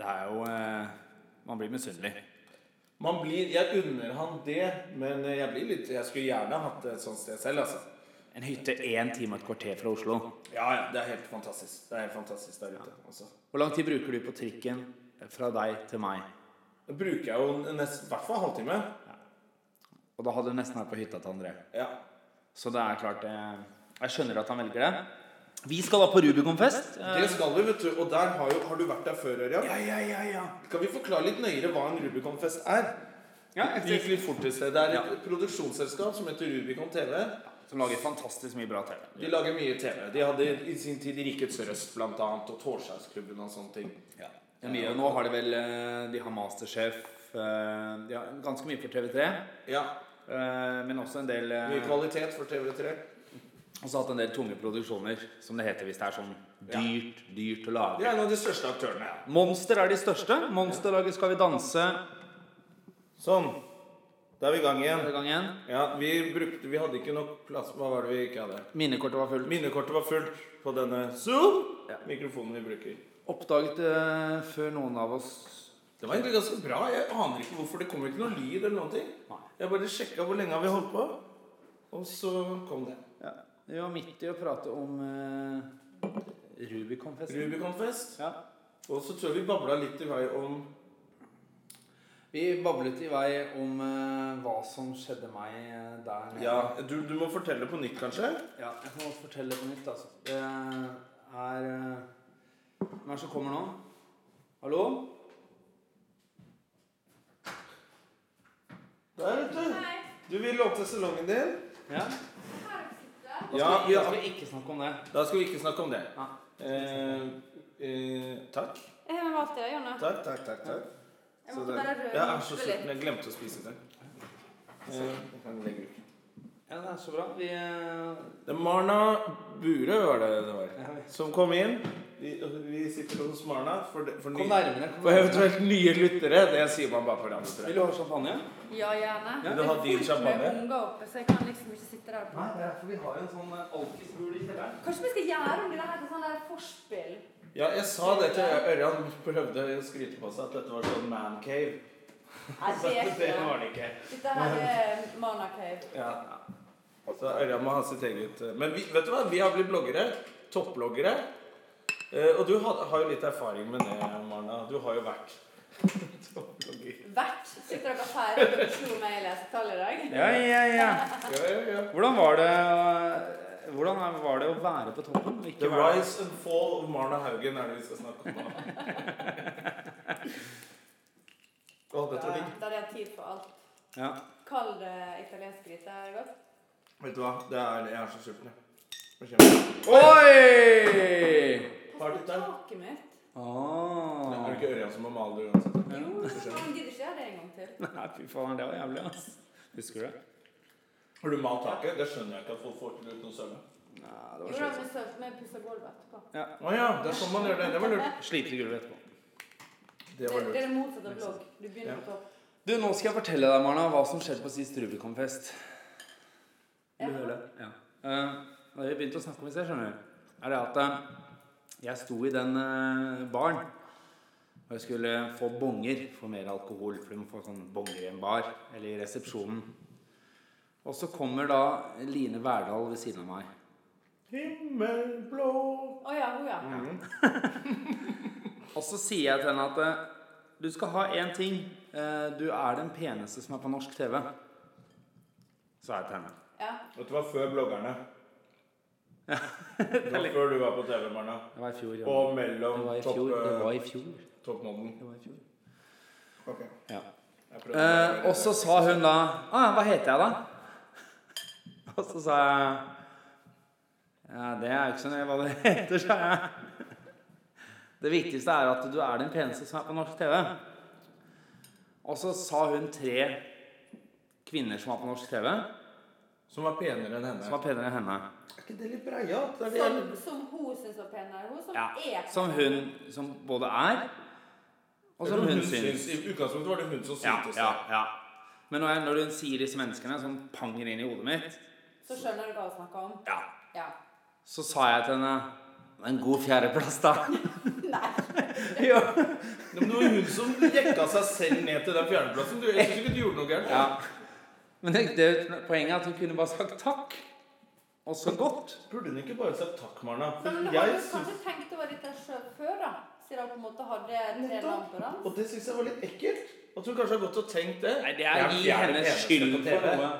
det er jo eh, Man blir misunnelig. Man blir, jeg unner han det, men jeg blir litt Jeg skulle gjerne hatt et sånt sted selv, altså. En hytte én time og et kvarter fra Oslo. Ja, ja, det er helt fantastisk. Det er helt fantastisk der ute. Altså. Hvor lang tid bruker du på trikken fra deg til meg? Da bruker jeg jo nesten i hvert fall en halvtime. Og da hadde du nesten vært på hytta til André. Ja. Så det er klart eh, Jeg skjønner at han velger det. Vi skal da på Rubicon-fest. eh, Det skal vi, vet du. Og der har, jo, har du vært der før, Ørjan? Ja, ja, ja, ja. Skal vi forklare litt nøyere hva en Rubicon-fest er? ja Det jeg, gikk litt fort i sted. Det er et produksjonsselskap som heter Rubicon TV. som lager fantastisk mye bra TV. De lager mye TV. De hadde i sin tid Rikets Røst blant annet, og Tårsausklubben og sånne ting. Ja. mye, og nå har de vel eh, De har Masterchef. eh, De har ganske mye for TV3, Ja, eh, men også en del eh, Mye kvalitet for TV3. Også hatt en del tunge produksjoner, som det heter hvis det er sånn dyrt, dyrt å De lage. er en av de største aktørene. ja. Monster er de største. Monster lager Skal vi danse Sånn. Da er vi i gang igjen. denne gangen. Ja, Vi brukte, vi hadde ikke nok plass. Hva var det vi ikke hadde? Minnekortet var fullt. Minnekortet var fullt på denne Zoom-mikrofonen vi bruker. Oppdaget eh, før noen av oss Det var egentlig ganske bra. Jeg aner ikke hvorfor. Det kommer ikke noe lyd eller noen ting. Nei. Jeg bare sjekka hvor lenge har vi holdt på, og så kom det. ja, Vi var midt i å prate om eh, Rubicon-festen. Rubicon-fest. Ja. Og så tror jeg vi babla litt i vei om Vi bablet i vei om eh, hva som skjedde meg eh, der nede. Ja, du, du må fortelle på nytt, kanskje? Ja, jeg kan også fortelle på nytt, altså. Det er eh, Hvem er det som kommer nå? Hallo? Der, vet du. Du vil åpne salongen din. Ja? Ja, Da skal vi ikke snakke om det. Da skal vi ikke snakke om det. Ja. Eh, Eh, takk. Jeg har valgt deg, Jonna. Takk, takk, takk. takk. Jeg Så måtte det- bare røre Jeg er meg så litt. sulten. Jeg glemte å spise det. Eh, jeg kan legge ut. Ja, det er så bra. Vi eh, Det er Marna Burøe var det det var, som kom inn. Vi, vi sitter hos Marna for, det- for, Kom nye, nærmere. Kom for nærmere. eventuelt nye lyttere. Det sier man bare for andre, tror Vil jeg. du ha champagne? Ja, gjerne. Vil du Det er ha din fullt champagne? med unger oppe, så jeg kan liksom ikke sitte der. Nei, det er for vi har en sånn alkisbul i kjelleren. Kanskje vi skal gjøre om det der til sånn der <laughs> forspill? Ja, jeg sa det til Ørjan. Prøvde å skryte på seg at dette var sånn man cave. Nei, det er ikke <laughs> Det noe. var det ikke. Dette her er Mana Cave. Ja. Så Ørjan må ha sitt eget eh, Men vi, vet du hva? vi har blitt bloggere. Toppbloggere. Eh, Og du har, har jo litt erfaring med det, Marna. Du har jo vært <laughs> toppblogger. Hvert sitter dere her og slo meg i lesetall i dag. Ja, ja, ja. Ja, ja, ja. Hvordan var det, å- hvordan er- var det å være på toppen? og The Ikke være rise and fall of Marna Haugen er det vi skal snakke om <laughs> nå. Å, dette var digg. Da hadde jeg Eh, tid for alt. Ja. Kald eh, italiensk gryte er godt. Vet du hva? Det er, jeg er så sulten, jeg. Oi! Har du Pass på den? taket mitt. Er det Ah. ikke Ørjan som må male det uansett? Jo, han gidder ikke gjøre det en gang til. Nei, fy faen, det var jævlig, ass. Husker du det? Har du malt taket? Det skjønner jeg ikke at folk får til uten å søle. Nei, det Jo, var da har slitsomt. vi sølt med pussa gulvet etterpå. Å ja, det er sånn man gjør det. Det var lurt. Slite i gulvet etterpå. Det Det, var det lurt. er det motsatte av blogg. Du begynner på topp. Du, nå skal jeg fortelle deg, Marna, hva som skjedde på sist Rubiconfest. Vil du Ja. høre det? Ja. Eh, og det vi begynte å snakke om i sted, skjønner du, er det at eh, jeg sto i den eh, baren, og jeg skulle få bonger for mer alkohol, for du må få sånne bonger i en bar, eller i resepsjonen. Og så kommer da Line Verdal ved siden av meg. Himmelblå Å ja, hun ja. Mm. Og så sier jeg til henne at eh, du skal ha én ting. Eh, Du er den peneste som er på norsk TV. Sa jeg til henne. ja. Dette var før bloggerne. Det var før du var på TV, Marna. Det var i fjor. Ja. Og mellom Det var i topp, fjor. Det eh, var i fjor. toppmodellen. Det var i fjor. Ok. Ja. Jeg prøvde å gjøre Eh, det. og så sa hun da ah, 'Hva heter jeg, da?' <laughs> Og så sa jeg ja, 'Det er jo ikke så nøye hva det <laughs> heter', sa jeg. Det viktigste er at du er den peneste som er på norsk TV. Og så sa hun tre kvinner som var på norsk TV, Som var penere enn som henne. Sånn. var penere enn henne. Er ikke det litt breialt? Det er Som, det- som hun syns var pen. eller Hun som Ja, er som hun som både er, og som hun syns. I utgangspunktet var det hun som Ja, syntes ja, ja. Men når, jeg, når hun sier disse menneskene som panger inn i hodet mitt, Så skjønner du hva hun snakker om? ja, Ja. så sa jeg til henne «Men En god fjerdeplass, <laughs> da. Nei. jo. det. Men det var jo hun som jekka seg selv ned til den fjerdeplassen. Du, jeg synes ikke du gjorde noe gærent. Ja. Men det, det, poenget er at hun kunne bare sagt takk. Og så godt. Burde hun ikke bare sagt takk, Marna? Nei, For Men du har jeg jo syns kanskje tenkt over dette sjøl før, da? Siden hun på en måte hadde tre Nettopp. navn på den? Og det syns jeg var litt ekkelt. At hun kanskje har gått og tenkt det. Nei, det er gi henne skyld for noe.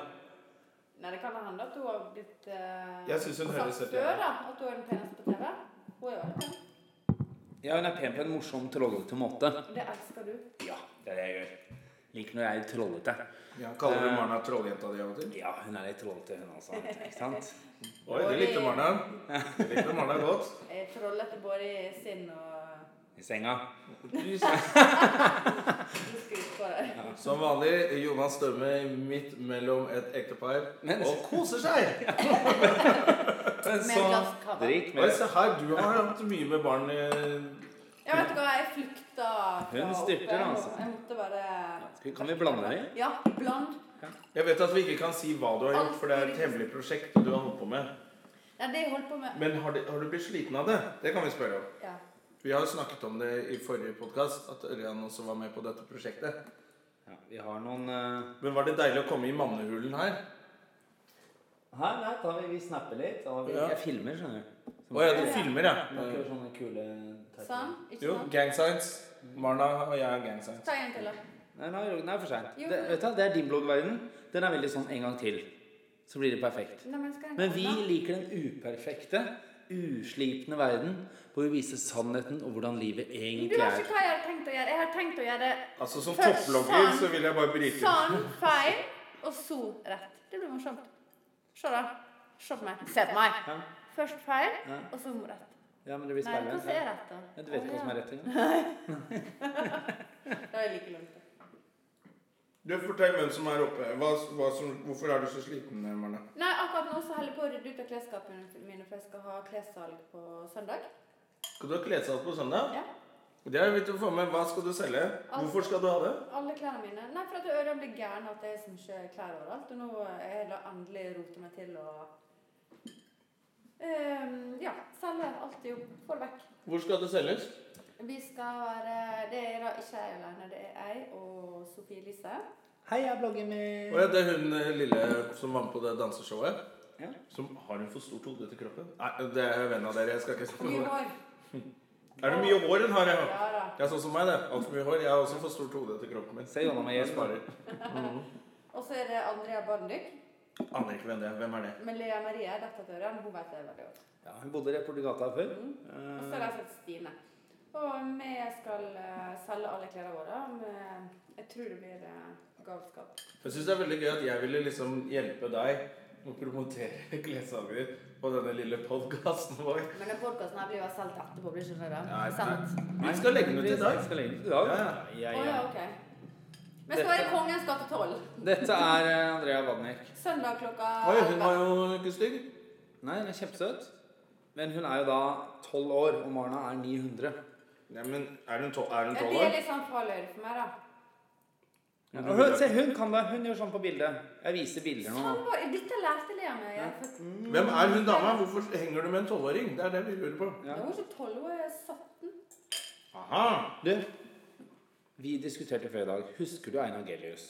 Nei, det kan hende at hun har blitt eh, Jeg synes hun sagt høres helt før, jævlig. da, at hun er den peneste på TV. Hun er jo alltid pen. Ja, hun er pen på en morsom, trollete måte. Og Det elsker du. Ja, det er det jeg gjør. Liker når jeg er trollete. Ja, kaller Eh. du Marna trolljenta di av og til? Ja, hun er litt trollete, hun altså. Ikke <laughs> sant? Oi, det likte Marna. Det likte Marna <laughs> godt. Jeg er trollete både i sinn og I senga. Du skal ut på det. Som vanlig, Jonas Stømme midt mellom et ektepar Men- og koser seg. <laughs> Men Med en glass kava. Drikk Oi, med se her, du har hatt mye med barn eh, i Jeg vet ikke hva, jeg flykta fra Hun styrter, oppe. altså. Jeg måtte bare Skal- Kan vi blande det i? Ja, bland. Jeg vet at vi ikke kan si hva du har gjort, for det er et hemmelig prosjekt du har holdt på med. Det er det jeg holdt på med. Men har du, har du blitt sliten av det? Det kan vi spørre om. Ja. Vi har jo snakket om det i forrige podkast, at Ørjan også var med på dette prosjektet. Ja, vi har noen eh, Men var det deilig å komme i mannehulen her? Her, nei, da vi, vi snapper litt. Da vi, Ja. Jeg filmer, skjønner du. Å ja, du filmer, Det ja. er ikke sånne kule Sånn? Ikke Jo, sant? gang signs. Marna og jeg er gang signs. Ta en til, da. Nei, nei, det er for seint. Jo. Det, vet du, hva, det er din bloggverden. Den er veldig sånn en gang til. Så blir det perfekt. Nei, men skal jeg Men vi ta den? liker den uperfekte, uslipne verden hvor vi viser sannheten og hvordan livet Du egentlig vet er. ikke hva jeg har tenkt å gjøre. Jeg har tenkt å gjøre Altså, som Først toppblogger sånn. så vil jeg bare bryte sann, feil, og så rett. Det blir morsomt. Se, da. Se på meg. Se på meg. Ja. Først feil, Ja. og så rett. Ja, men det blir Nei, speilvendt. hvordan er dette? Ja, Du vet ikke hva som er rett engang. Det er like langt. Du Fortell hvem som er oppe. Hva, hva som, hvorfor er du så sliten, Marne? Nei, akkurat nå så holder jeg på å rydde ut av klesskapene mine, for jeg skal ha klessalg på søndag. Skal du ha klessalg på søndag? Ja. Det er viktig å få med. Hva skal du selge? Hvorfor skal du ha det? Alle klærne mine. Nei, for at øra blir gæren av at det er så mye klær overalt. Og nå har jeg da endelig rota meg til å ehm, Ja, selge alt i hop. Få det vekk. Hvor skal det selges? Vi skal være Det er da ikke jeg alene, det er jeg og Sofie Elise. Hei, jeg blogger med Å ja, det er hun eh, lille som var med på det danseshowet. Ja. Som har hun for stort hode til kroppen? Nei, det er en venn av dere. Jeg skal ikke Mye spørre. hår. Er det mye hår hun har? Ja? Ja da. Det er sånn som meg, det. Altfor mye hår. Jeg har også for stort hode til kroppen min. Se gjennom meg Jeg igjen. sparer. Og så er det Andrea Barndyk. Aner ikke hvem det er. Hvem er det? Men Lea Marie er dattera til Ørjan. Hun vet det veldig godt. Ja, hun bodde rett borti gata før. Mm. Eh, Og så er det altså Stine. Og vi skal eh, selge alle klærne våre. Men jeg tror det blir eh, galskap. Jeg synes det er veldig gøy at jeg ville liksom hjelpe deg å promotere <laughs> klessalget ditt på denne lille podkasten vår. Men den podkasten blir jo solgt etterpå, blir ikke det det? Nei, Sant? Vi skal legge den ut i dag. Vi skal legge den ut i dag. Ja, Ja, ja. Å ja, ok. Vi skal være i Kongens gate 12. Dette er eh, Andrea Wadnek. Søndag klokka Oi, hun var jo ikke stygg. Nei, hun er kjempesøt. Men hun er jo da 12 år, og Marna er 900. Ja, men er hun tol- er hun Ja, tolv det er år? litt sånn fra løyre for meg, da. Ja, og hun, se, hun kan det. Hun gjør sånn på bildet. Jeg viser bilder nå. Sånn var, dette lærte Lea meg. Jeg er født- Hvem er hun dama? Hvorfor henger du med en tolvåring? Det er det vi lurer på. Ja. Jeg var ikke 12 år, jeg er 17. Aha. Du, vi diskuterte før i dag. Husker du Einar Gellius?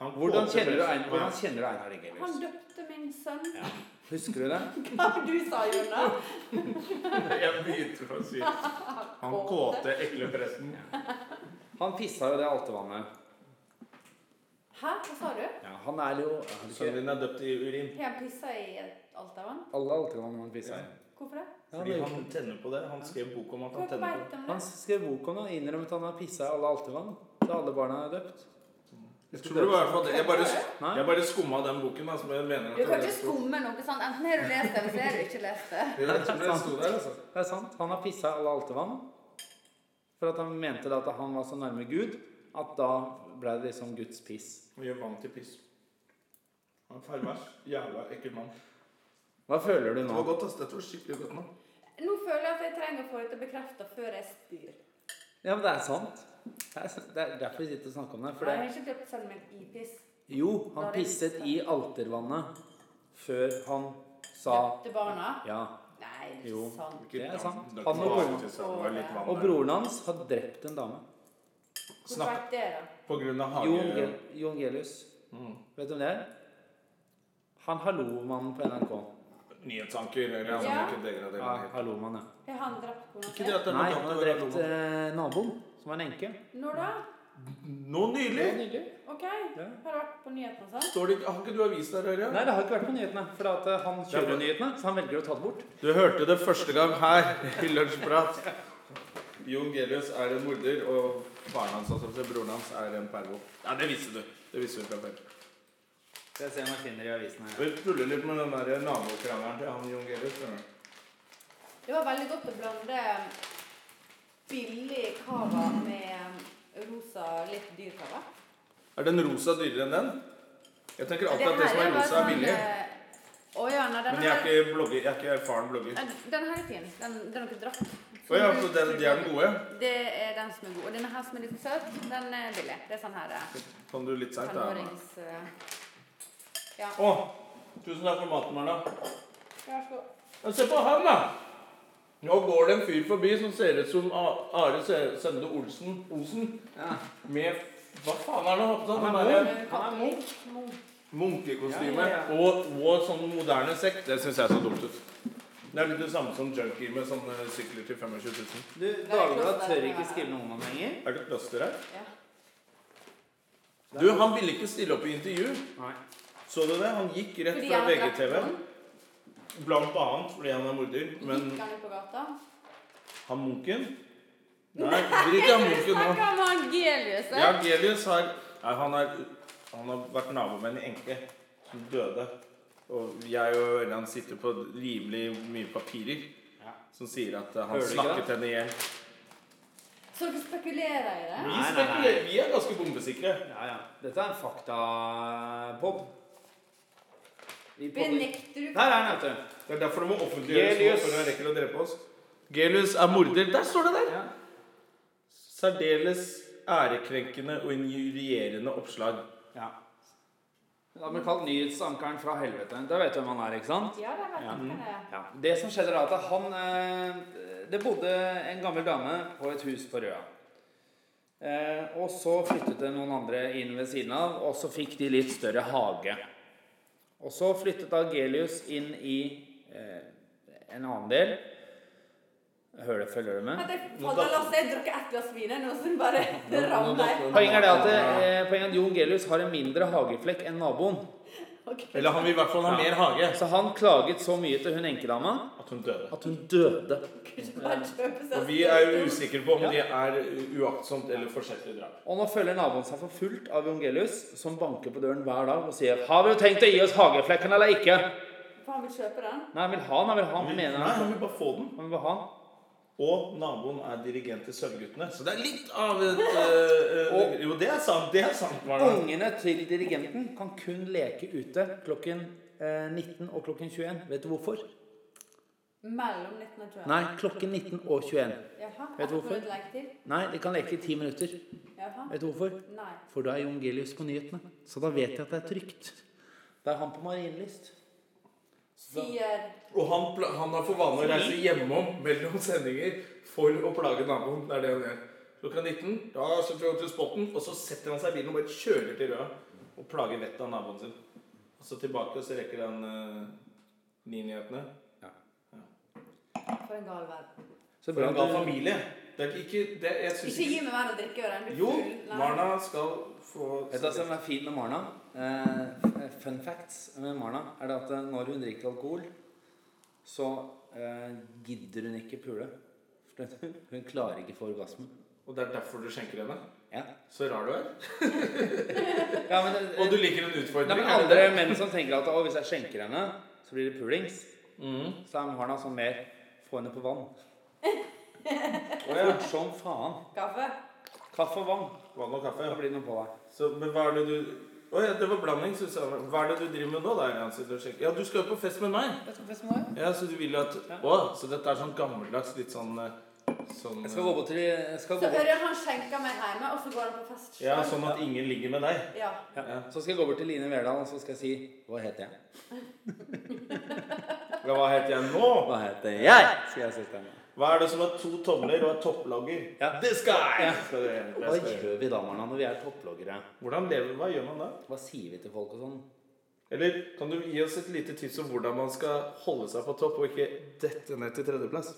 Han Hvordan kåte kjenner du pressen. Einar, hvordan kjenner du Einar Gellius? Han døpte min sønn. <laughs> Husker du det? Hva var det du sa, Jonna? <laughs> Jeg begynte å si Han kåte ekle pressen. Han pissa jo det altevannet. Hæ, hva sa du? Ja, han er jo har du Sønnen ikke- din er døpt i urin. Har han pissa i et altervann? Alle altevann han pissa i. Hvorfor det? Ja, Fordi han- han tenner på det. Han skrev bok om at han Hvorfor tenner på det. veit de det? Han skrev bok om det og innrømmet at han har pissa i alle altevann. Da alle barna er døpt. Jeg tror det var i hvert fall det. Jeg bare, Nei? jeg bare skumma den boken. da, som jeg mener at Du kan det ikke sto- skumme noe sånt. Enten har du lest det, eller så har du ikke lest <laughs> det. Ja, <laughs> jeg tror det sto der, altså. Det er sant. Han har pissa i alle altevann. For at han mente da at han var så nærme Gud at da ble det liksom Guds piss. Og gjør vann til piss. Han er pervers. Jævla ekkel mann. Hva føler du Det var nå? godt, ass. Dette var skikkelig godt nå. Nå føler jeg at jeg trenger å få dette bekrefta før jeg spyr. Ja, men det er sant. Det er, sant. Det er derfor vi sitter og snakker om det. For Jeg har det ikke døpt sønnen min i piss. jo, Da han er det pisset sant. i altervannet før han sa Døpte barna? ja. Nei, det er Jo. ikke sant. Det er sant. Det Han og var broren. ikke sant, det var litt vann Og der. broren hans har drept en dame. Hvorfor Snakk. veit det, da? På grunn av Jon, hage... Gel Jon Gelius. Vet du hvem det er? Han Hallomannen på NRK. Nyhetsanker eller altså, noe Ja. sånt. Ikke degraderende. Ja, Hallomannen, ja. Har han drept kona Ikke det at det er Nei, noe han galt har å være drept homo. eh, naboen, som var en enke. Når da? Nå nylig! Nydelig. OK. Har det vært på nyhetene og sånn? Står det ikke, har ikke du avis der, Ørjan? Nei, det har ikke vært på nyhetene, for at eh, han kjører jo nyhetene, så han velger å ta det bort. Du hørte det første gang her i Lunsjprat. Jon Gelius er en morder, og faren hans, altså eller broren hans, er en pervo. Ja, det visste du. Det visste du fra før. Skal jeg se om jeg finner i avisen her. Vi tuller litt med den der nabokrangeren til han Jon Gelius. skjønner du. Det var veldig godt å blande um, billig cava med um, rosa, litt dyr cava. Er den rosa dyrere enn den? Jeg tenker alltid at det som er bare rosa, er billig. eh, Å ja, nei, den Men jeg er her ikke, blogger, jeg er ikke erfaren blogger. Nei, Den her er fin. Den, den har dere dratt. Å ja, så den, de er den gode? Det er den som er god. Og denne her som er litt søt, den er billig. Det er sånn her eh, Kom du litt seint, da? femårings... eh, Ja. Å! Tusen takk for maten, Marna. Vær så god. Men se på han, da! Nå går det en fyr forbi som ser ut som A- Are Se- Sende Olsen Osen. Ja. Med Hva faen er det han har på seg? Han Han er derre Han er munk. Munkekostyme Ja, ja, ja. Og, og sånn moderne sekk. Det syns jeg så dumt ut. Det er litt det samme som junkie med sånne sykler til 25 000. Du, Dagbladet tør ikke skrive noe om ham lenger. Er det plaster her? Ja. Du, han ville ikke stille opp i intervju. Nei. Så du det? Han gikk rett Fordi fra han drept VGTV. noen? Blant annet fordi han er morder. Men Gikk han ut på gata? han munken Nei, drit i han munken nå. Snakker om han Gelius, eh? Ja, Gelius har Nei, han har, han har vært nabo med en enke som døde. Og jeg og Ørjan sitter på rimelig mye papirer. som sier at eh, han Hører du ikke snakket henne i hjel. Så dere spekulerer i Vi, det? Nei, nei, nei. spekulerer- vi er ganske bombesikre. Ja, ja. Dette er en faktapod. Vi podder- Benekter du Der er den, vet du. Det er derfor det må offentliggjøres nå, Gelius. før han rekker å drepe oss. Gelius er morder. Der står det der! Ja. Særdeles ærekrenkende og injurierende oppslag. ja. Da har vi kalt nyhetsankeren fra helvete. Da vet du hvem han er, ikke sant? Ja, det vet jeg. Ja. Ja. Det som skjedde da, at han eh, Det bodde en gammel dame på et hus på Røa. Eh, og så flyttet det noen andre inn ved siden av, og så fikk de litt større hage. Og så flyttet da Gelius inn i eh, en annen del. Hører du, følger du med? Men det faller Lasse, jeg drakk ett glass vin nå, så den bare det rammer. Poenget er det at, eh, poenget er at Jon Gelius har en mindre hageflekk enn naboen. Ok. Eller han vil i hvert fall ha mer hage. Så han klaget så mye til hun enkedama At hun døde. at hun døde. Kanskje bare kjøpe seg Og vi er jo usikre på om det er uaktsomt eller forsettlig drap. Og nå føler naboen seg forfulgt av Jongelius, som banker på døren hver dag og sier Har du tenkt å gi oss hageflekken eller ikke? For han vil kjøpe den. Nei, han vil ha den. Han vil ha den, Nei, mener han. han vil bare få den. Han vil bare ha den. Og naboen er dirigent til Sølvguttene. Så det er litt av <laughs> et eh, eh, Og- Jo, det er sant. Det er sant. Marna. Ungene til dirigenten kan kun leke ute klokken eh, 19 og klokken 21. Vet du hvorfor? Mellom 19 og 20. Nei, klokken 19 og 21. Jaha. Vet du hvorfor? Ett minutt leketid. Nei, de kan leke i ti minutter. Jaha. Vet du hvorfor? Nei. For da er Jongelius på nyhetene. Så da vet jeg at det er trygt. Da er han på marinlyst. Sier Og han, pla- han har for vane å reise hjemom mellom sendinger for å plage naboen. Det er det han gjør. Klokka 19, da setter han til spotten, og så setter han seg i bilen og bare kjører til Røa og plager vettet av naboen sin. Og så tilbake, og så rekker han eh, ni-nyhetene. for en gal verden. Så For bra en gal du familie. Det er ikke det, jeg synes Ikke gi meg mer å drikke og den blir Jo, full. Nei. Marna skal få Vet du hva som er fint med Marna? Eh, fun facts med Marna er det at eh, når hun drikker alkohol, så eh, gidder hun ikke pule. For <laughs> Hun hun klarer ikke å få orgasme. Og det er derfor du skjenker henne? Ja. Så rar du er. ja, men, det- Og du liker en Nei, utfordring? men er det andre menn som tenker at å, hvis jeg skjenker henne, så blir det pulings. Mm. Så er Marna sånn mer få henne på <laughs> vann. Fort som faen. Kaffe. Kaffe og vann. det? Vann og kaffe? Da ja. blir det noe på deg. Så, men hva er det du Å ja, det var blanding, Susanne. Hva er det du driver med nå? da? Jan? Sitter og sjekker. Ja, du skal jo på fest med meg. Jeg skal feste med deg. Ja, Så du vil jo at Å, så dette er sånn gammeldags, litt sånn eh, Sånn Jeg skal gå eh, på til jeg skal Så gå bort- hører han skjenker meg hjemme, og så går han på fest. Ja, sånn at ingen ligger med deg. Ja. Ja. Så skal jeg gå bort til Line Verdal og så skal jeg si Hva heter jeg? Ja, hva heter jeg nå? Hva heter jeg? Skal jeg si til henne. Hva er det som har to tomler og er topplogger? Ja. This guy! Ja. Skal du- Hva det skal jeg gjøre. gjør vi da, Marna, når vi er topploggere? Hvordan lever Hva gjør man da? Hva sier vi til folk og sånn? Eller kan du gi oss et lite tips om hvordan man skal holde seg på topp, og ikke dette ned til tredjeplass?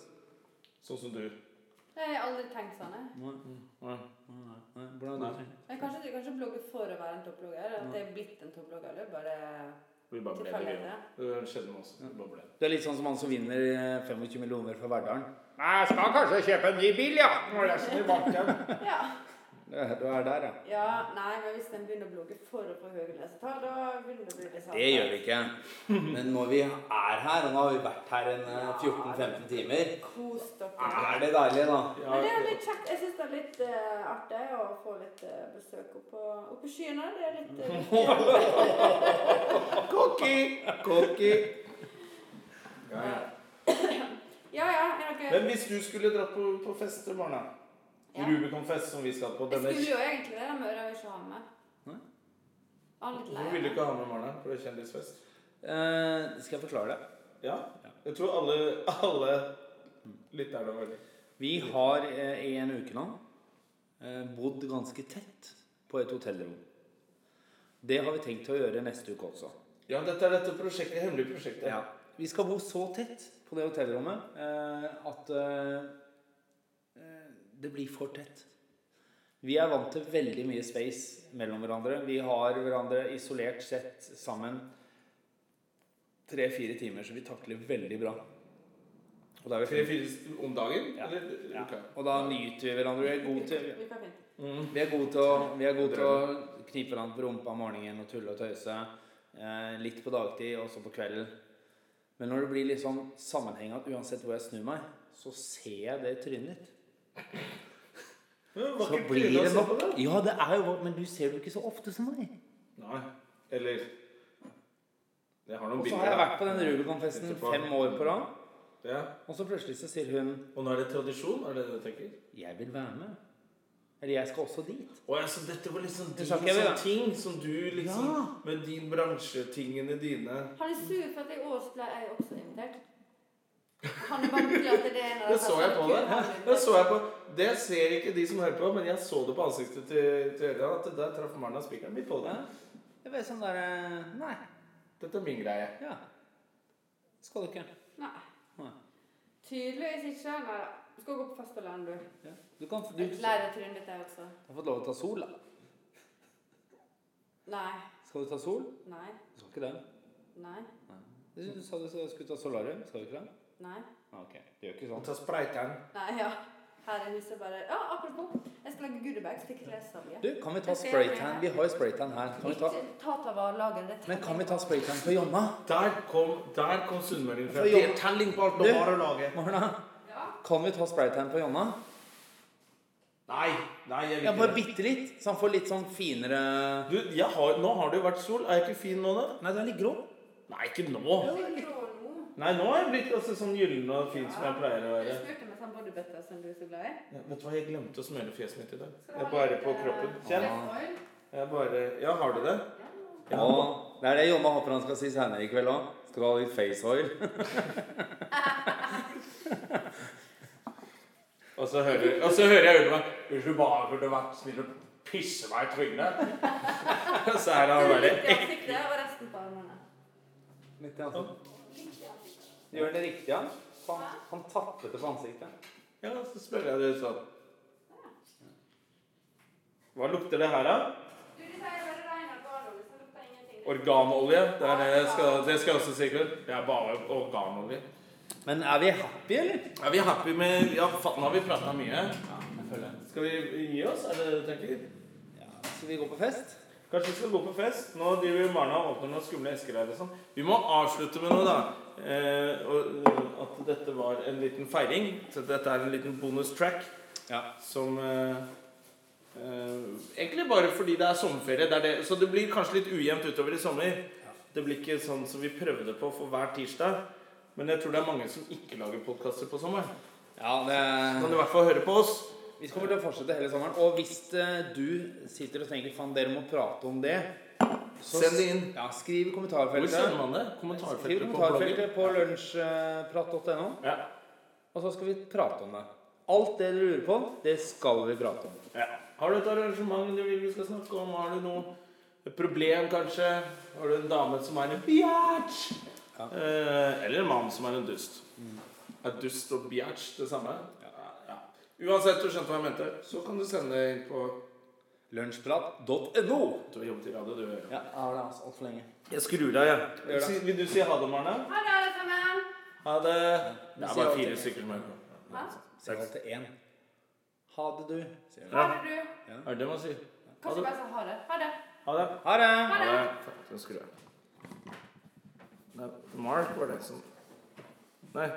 Sånn som du. Jeg har aldri tenkt sånn. jeg. Ja. Nei, hvordan er det? Jeg kanskje, jeg kanskje blogger for å være en topplogger. At jeg er blitt en topplogger. Det er bare <laughs> Vi bare ble det. tilfeldigheter. vi. Det skjedde med oss. Vi bare ble det. Du er litt sånn som han som vinner eh, 25 millioner fra Verdalen. Jeg skal kanskje kjøpe en ny bil, ja! Når jeg snur banken. Ja. Du er der, ja. ja. Nei, men hvis en begynner å blogge for å få høye lesetall, da begynner det å bli litt sånn. Det gjør vi <laughs> ikke. Men når vi er her, og nå har vi vært her en eh, 14-15 timer, Kos dere. er det deilig, da. Ja, Men det er jo litt kjekt. Jeg syns det er litt eh, artig å få litt eh, besøk opp på, opp på skyene. Det er <laughs> litt eh, Cocky! Cocky! Ja, ja. <clears throat> Ja ja, er dere Men hvis du skulle dratt på, på fest til morgenen Ja. Rubicon-fest, som vi skal på Jeg denne skulle jo egentlig det, da, men Øre vil ikke ha med meg. Nei. Han er litt Hvorfor lei. vil du meg. ikke ha med Marna på kjendisfest? Eh, skal jeg forklare det? Ja. Jeg tror alle, alle lytterne var litt Vi har eh, i en uke nå eh, bodd ganske tett på et hotellrom. Det har vi tenkt å gjøre neste uke også. Ja, dette er dette prosjektet, hemmelige prosjektet. Ja. Vi skal bo så tett på det hotellrommet eh, at eh, eh, det blir for tett. Vi er vant til veldig mye space mellom hverandre. Vi har hverandre isolert sett sammen tre-fire timer, så vi takler veldig bra. Og da, er vi Tre-fire om dagen? Ja. Eller ja. uka? og da nyter vi hverandre. Vi er gode til, Vi kan fint. Mm. vi er gode til, å, vi er gode til å knipe hverandre på rumpa om morgenen og tulle og tøyse. Eh, litt på dagtid, også på kvelden. Men når det blir litt sånn sammenhengende, uansett hvor jeg snur meg, så ser jeg det i trynet ditt. Men Så vakkert blir tryne å det se på nok Ja, det er jo Men du ser det jo ikke så ofte som meg. Nei. Eller Jeg har noen Og så bilder. har jeg da. vært på den Rubicon-festen Etterpå. fem år på rad, Ja. og så plutselig så sier hun Og nå er det tradisjon? Er det det du tenker? 'Jeg vil være med'. Eller 'Jeg skal også dit'. Å ja, så dette var liksom din sa ikke jeg vil, sånn da. ting som du liksom Ja. Med din bransjetingene dine Han er sur for at i år så ble jeg også invitert. Han er vanskelig at det er Det så jeg på deg. <laughs> Det så jeg på Det ser ikke de som hører på, men jeg så det på ansiktet til, til Ørjan at der traff Marna spikeren midt på det. Ja. Jeg ble sånn derre Nei. Dette er min greie. Ja. Skal du ikke. Nei. Nei. Tydeligvis ikke. Nei da. Du skal gå på fest alene, du. Ja. Du kan du, Jeg er lei deg trynet ditt, jeg også. har fått lov å ta sol, da. Nei. Skal du ta sol? Nei. Du skal ikke det. Nei. Du, du sa du skulle ta solarium. Skal du ikke det? Nei. Ah, ok. Du gjør ikke Og sånn. ta sprayteren. Nei, ja. Her i huset bare Ja, apropos. Jeg skal lage goodiebags til klessalget. Du, kan vi ta spraytan? Vi har jo spraytan her. Kan vi ta, Tata var lager det. men kan vi ta spraytan på Jonna? Der kom, der kom sunnmeldingen fra. For Det jobb- er telling på alt du Du- har å lage. Marna? Kan vi ta spraytan på Jonna? Nei, nei, jeg Ja, vil ikke bare det. bitte litt, så han får litt sånn finere Du, jeg har, nå har det jo vært sol. Er jeg ikke fin nå, da? Nei, du er litt grå. Nei, ikke nå. Nei, nå er jeg blitt altså, sånn gyllen og fin som jeg pleier å Du være. spurte meg sånn bodybutter som du er så glad i. Ja, vet du hva, jeg glemte å smøre fjeset mitt i dag. Det Skal du er ha bare litt, på eh, kroppen. Kjenn. oil? Jeg bare Ja, har du det? Ja. Det er det Jonna håper han skal si senere i kveld òg. Skal du ha litt face oil? Og så hører, og så hører jeg under meg Hvis du bare burde vært snill og pisse meg i trynet. <laughs> Og så er han bare Litt i ansiktet og resten på armene. Midt i ansiktet. Gjør det riktig, ja. Han, han tappet det på ansiktet. Ja, så spør jeg det sånn Hva lukter det her, da? Du, de sier bare rein organolje, så lukter ingenting. Organolje. Det er det jeg skal, det skal jeg også si. Kurt. Det er bare organolje. Men er vi happy, eller? Er vi happy med Ja, faen, nå har vi prata mye. Skal vi gi oss, er det det du tenker? Skal vi gå på fest? Kanskje vi skal gå på fest? Nå driver Marna og åpner noen skumle esker her og sånn. Vi må avslutte med noe, da. Eh, og, eh, at dette var en liten feiring. Så dette er en liten bonus track Ja. som eh, eh, Egentlig bare fordi det er sommerferie. Det er det. Så det blir kanskje litt ujevnt utover i sommer. Det blir ikke sånn som vi prøvde på for hver tirsdag. Men jeg tror det er mange som ikke lager podkaster på sommeren. Ja, det Kan du i hvert fall høre på oss? Vi kommer til å fortsette hele sommeren. Og hvis eh, du sitter og tenker faen, dere må prate om det så Send det inn. Ja, skriv i Hvor sender kommentarfeltet. man det? Skriv i Kommentarfeltet på bloggen. kommentarfeltet på lunsjprat.no, Ja. og så skal vi prate om det. Alt det dere lurer på, det skal vi prate om. Ja. Har du et arrangement du vil vi skal snakke om? Har du noe et problem, kanskje? Har du en dame som er en biatch? Ja. Eh, eller en mann som er en dust? Er dust og biatch det samme? Mm. Ja. Uansett, du skjønte hva jeg mente, så kan du sende det inn på Lunsjprat.no. Du har jobbet i radio, du. Ja, jeg har det altså altfor lenge. Jeg skrur av, jeg. Gjør det. Si- Vil du si ha det, Marne? Ha det, alle sammen! Ha det. Det er sier bare alltid fire det. stykker som er Sier alltid én. Ha det, du. Sier Ja. Ha det, du. Er det det man sier? Ha Kanskje det. bare si ha det. Ha det. Ha det. Ha det! Ha det. Fuck, nå skrur jeg. Nei, Mark var det som Nei.